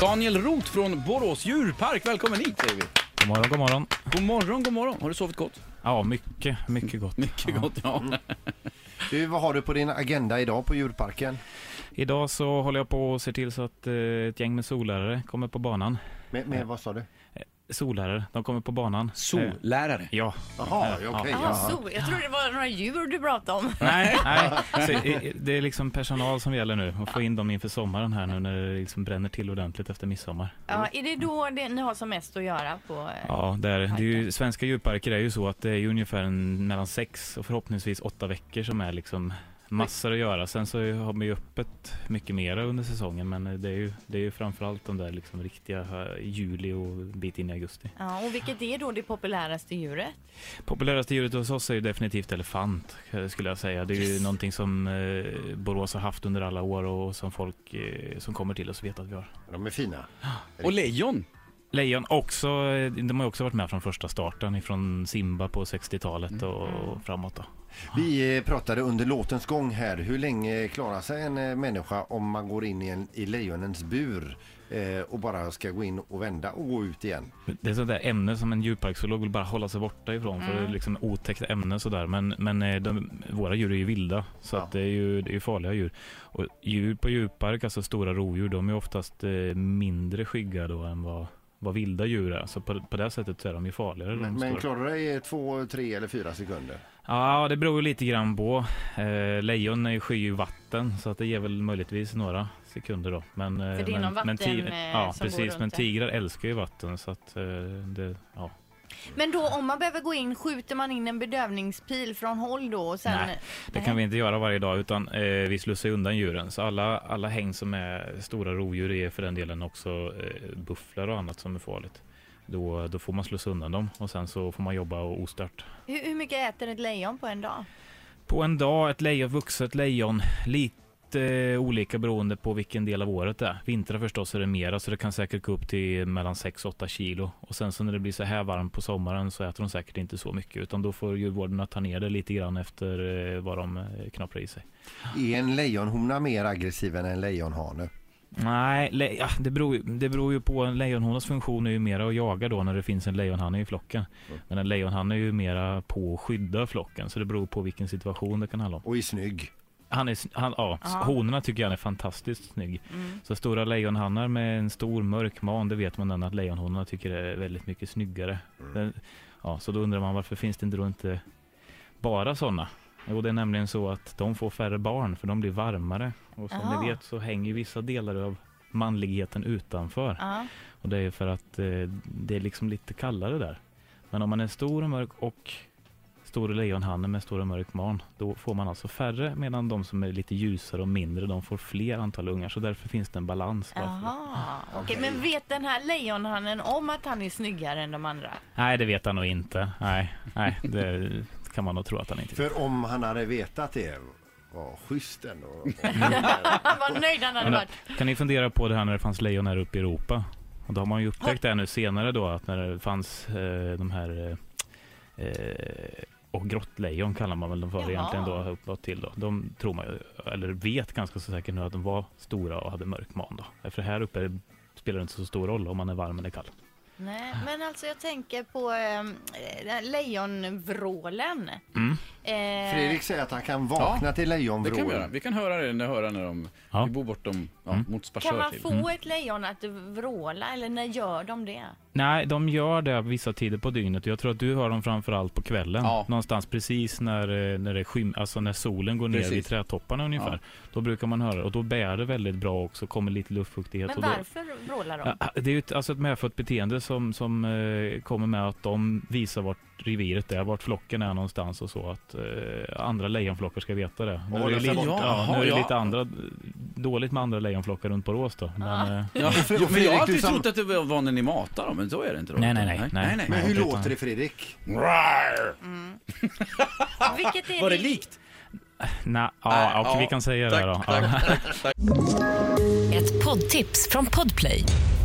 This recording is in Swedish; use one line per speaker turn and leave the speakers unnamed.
Daniel Roth från Borås djurpark, välkommen hit säger vi.
God morgon, god morgon.
God morgon, god morgon. Har du sovit gott?
Ja, mycket, mycket gott.
Mycket gott, ja. Mm.
Du, vad har du på din agenda idag på djurparken?
Idag så håller jag på och ser till så att eh, ett gäng med sollärare kommer på banan.
Med, med vad sa du?
Sollärare, de kommer på banan. Eh,
Sollärare.
ja.
Jaha, okej.
Jaha,
ja.
så. Jag trodde det var några djur du pratade om.
Nej, nej. Så, eh, det är liksom personal som gäller nu. Och få in dem inför sommaren här nu när det liksom bränner till ordentligt efter midsommar.
Ja, är det då det, ni har som mest att göra på... eh,
Ja, det är, det är ju, svenska djurparker är ju så att det är ju ungefär en, mellan sex och förhoppningsvis åtta veckor som är liksom massor att göra. Sen så har man ju öppet mycket mera under säsongen men det är ju, det är ju framförallt de där liksom riktiga eh, juli och en bit in i augusti.
Ja, och vilket är då det populäraste djuret?
Populäraste djuret hos oss är ju definitivt elefant eh, skulle jag säga. Det är ju någonting som eh, Borås har haft under alla år och som folk eh, som kommer till oss vet att vi har.
De är fina.
Och lejon.
Lejon också, eh, de har ju också varit med från första starten, ifrån Simba på 60-talet och, och framåt då.
Vi eh, pratade under låtens gång här. Hur länge klarar sig en eh, människa om man går in i, en, i lejonens bur eh, och bara ska gå in och vända och gå ut igen?
Det är sånt där ämne som en djurparksolog vill bara hålla sig borta ifrån för
Mm.
det är liksom otäckt ämne och sådär. Men, men eh, de, våra djur är ju vilda så
Ja.
att det är ju det är ju farliga djur. Och djur på djurpark, alltså stora rovdjur, de är oftast eh, mindre skygga då än vad, vad vilda djur är. Så på, på det sättet så är de ju farligare.
Men,
de
men
stora.
klarar du dig eh, två, tre eller fyra sekunder?
Ja, det beror ju lite grann på. Eh, lejon är ju- skyr ju vatten så att det ger väl möjligtvis några sekunder då. Men, eh,
För det är
men, men
någon vatten,
tig-
eh,
Ja,
som går
precis.
runt
Men
där.
tigrar älskar ju vatten så att eh, det, ja.
Men då om man behöver gå in, skjuter man in en bedövningspil från håll då och sen...
Nej, Det kan vi inte göra varje dag utan eh, vi slussar ju undan djuren. Så alla, alla häng som är stora rovdjur är för den delen också eh, bufflar och annat som är farligt. Då, då får man slussa undan dem och sen så får man jobba och ostört.
Hur, hur mycket äter ett lejon på en dag?
På en dag, ett lejon, vuxet lejon, lite eh, olika beroende på vilken del av året det är. Vintrar förstås är det mera så det kan säkert gå upp till mellan 6 och 8 kilo. Och sen så när det blir så här varmt på sommaren så äter de säkert inte så mycket utan då får djurvårdarna ta ner det lite grann efter eh, vad de eh, knoppar i sig.
Är en lejonhona mer aggressiv än en lejonhane?
Nej, le- ja, det, beror, ju- det beror ju på. En lejonhonas funktion är ju mera att jaga då när det finns en lejonhanne i flocken. Men en lejonhanne är ju mera på att skydda flocken. Så det beror på vilken situation det kan handla om.
Och är snygg.
Han är, sn- han, ja, s- honorna tycker jag han är fantastiskt snygg.
Mm.
Så stora lejonhannar med en stor mörk man, det vet man den att lejonhonorna tycker är väldigt mycket snyggare. Den, ja, så då undrar man varför finns det inte då inte bara sådana? Jo, det är nämligen så att de får färre barn för de blir varmare. Och som
Aha.
ni vet så hänger ju vissa delar av manligheten utanför.
Ja.
Och det är för att eh, det är liksom lite kallare där. Men om man är stor och mörk och stor lejonhanne med stor och mörk man, då får man alltså färre medan de som är lite ljusare och mindre, de får fler antal ungar. Så därför finns det en balans. där.
Jaha, okej. Men vet den här lejonhannen om att han är snyggare än de andra?
Nej, det vet han nog inte. Nej, nej det kan man nog tro att han inte vet.
För om han hade vetat det, vad schysst ändå.
Han var nöjd han hade
Men,
varit.
eh, Kan ni fundera på det här när det fanns lejon här uppe i Europa? Och då har man ju upptäckt det här nu senare då, att när det fanns eh, de här eh, eh, och grottlejon kallar man väl dem för
Jaha.
egentligen då uppåt till då. De tror man ju, eller vet ganska så säkert nu att de var stora och hade mörk man då. För här uppe spelar det inte så stor roll om man är varm eller kall.
Nej, men alltså jag tänker på eh, lejonvrålen. Eh,
Fredrik säger att han kan vakna
Det
till
kan vi
lejonvrål.
göra. Vi kan höra det när, höra när de...
Ja. Mm.
Vi bor bortom, ja, mot
Kan
Sparsör
man
till. Mm.
få ett lejon att vråla eller när gör de det?
Nej, de gör det vissa tider på dygnet. Jag tror att du hör dem framförallt på kvällen.
Ja.
Någonstans precis när, eh, när, det skym, alltså när solen går ner
Precis.
vid trädtopparna ungefär.
Ja.
Då brukar man höra det. och då bär det väldigt bra också, kommer lite luftfuktighet.
Men
och då,
varför vrålar de?
Ja, det är ju ett, alltså ett medfött beteende som, som eh, kommer med att de visar vart reviret är, vart flocken är någonstans och så att eh, andra lejonflockar ska veta det. Nu är
hålla
det,
sig
lite,
borta.
ja,
Jaha,
nu är
ja.
det lite andra, dåligt med andra lejonflockar runt Borås då. Men,
Ah.
eh,
Ja,
Fre-
men jag
Fredrik,
har
du
alltid
sam-
trott att det var när ni matar dem, men så är det inte då.
Nej, nej, nej,
nej,
nej.
nej.
Men hur
utan-
låter det Fredrik?
Vilket är
Var det
din-
likt?
nej,
Nej,
ja,
ja.
okej, vi kan säga
Tack,
det då.
tack,
Ja.
tack, tack.
Ett poddtips från Podplay.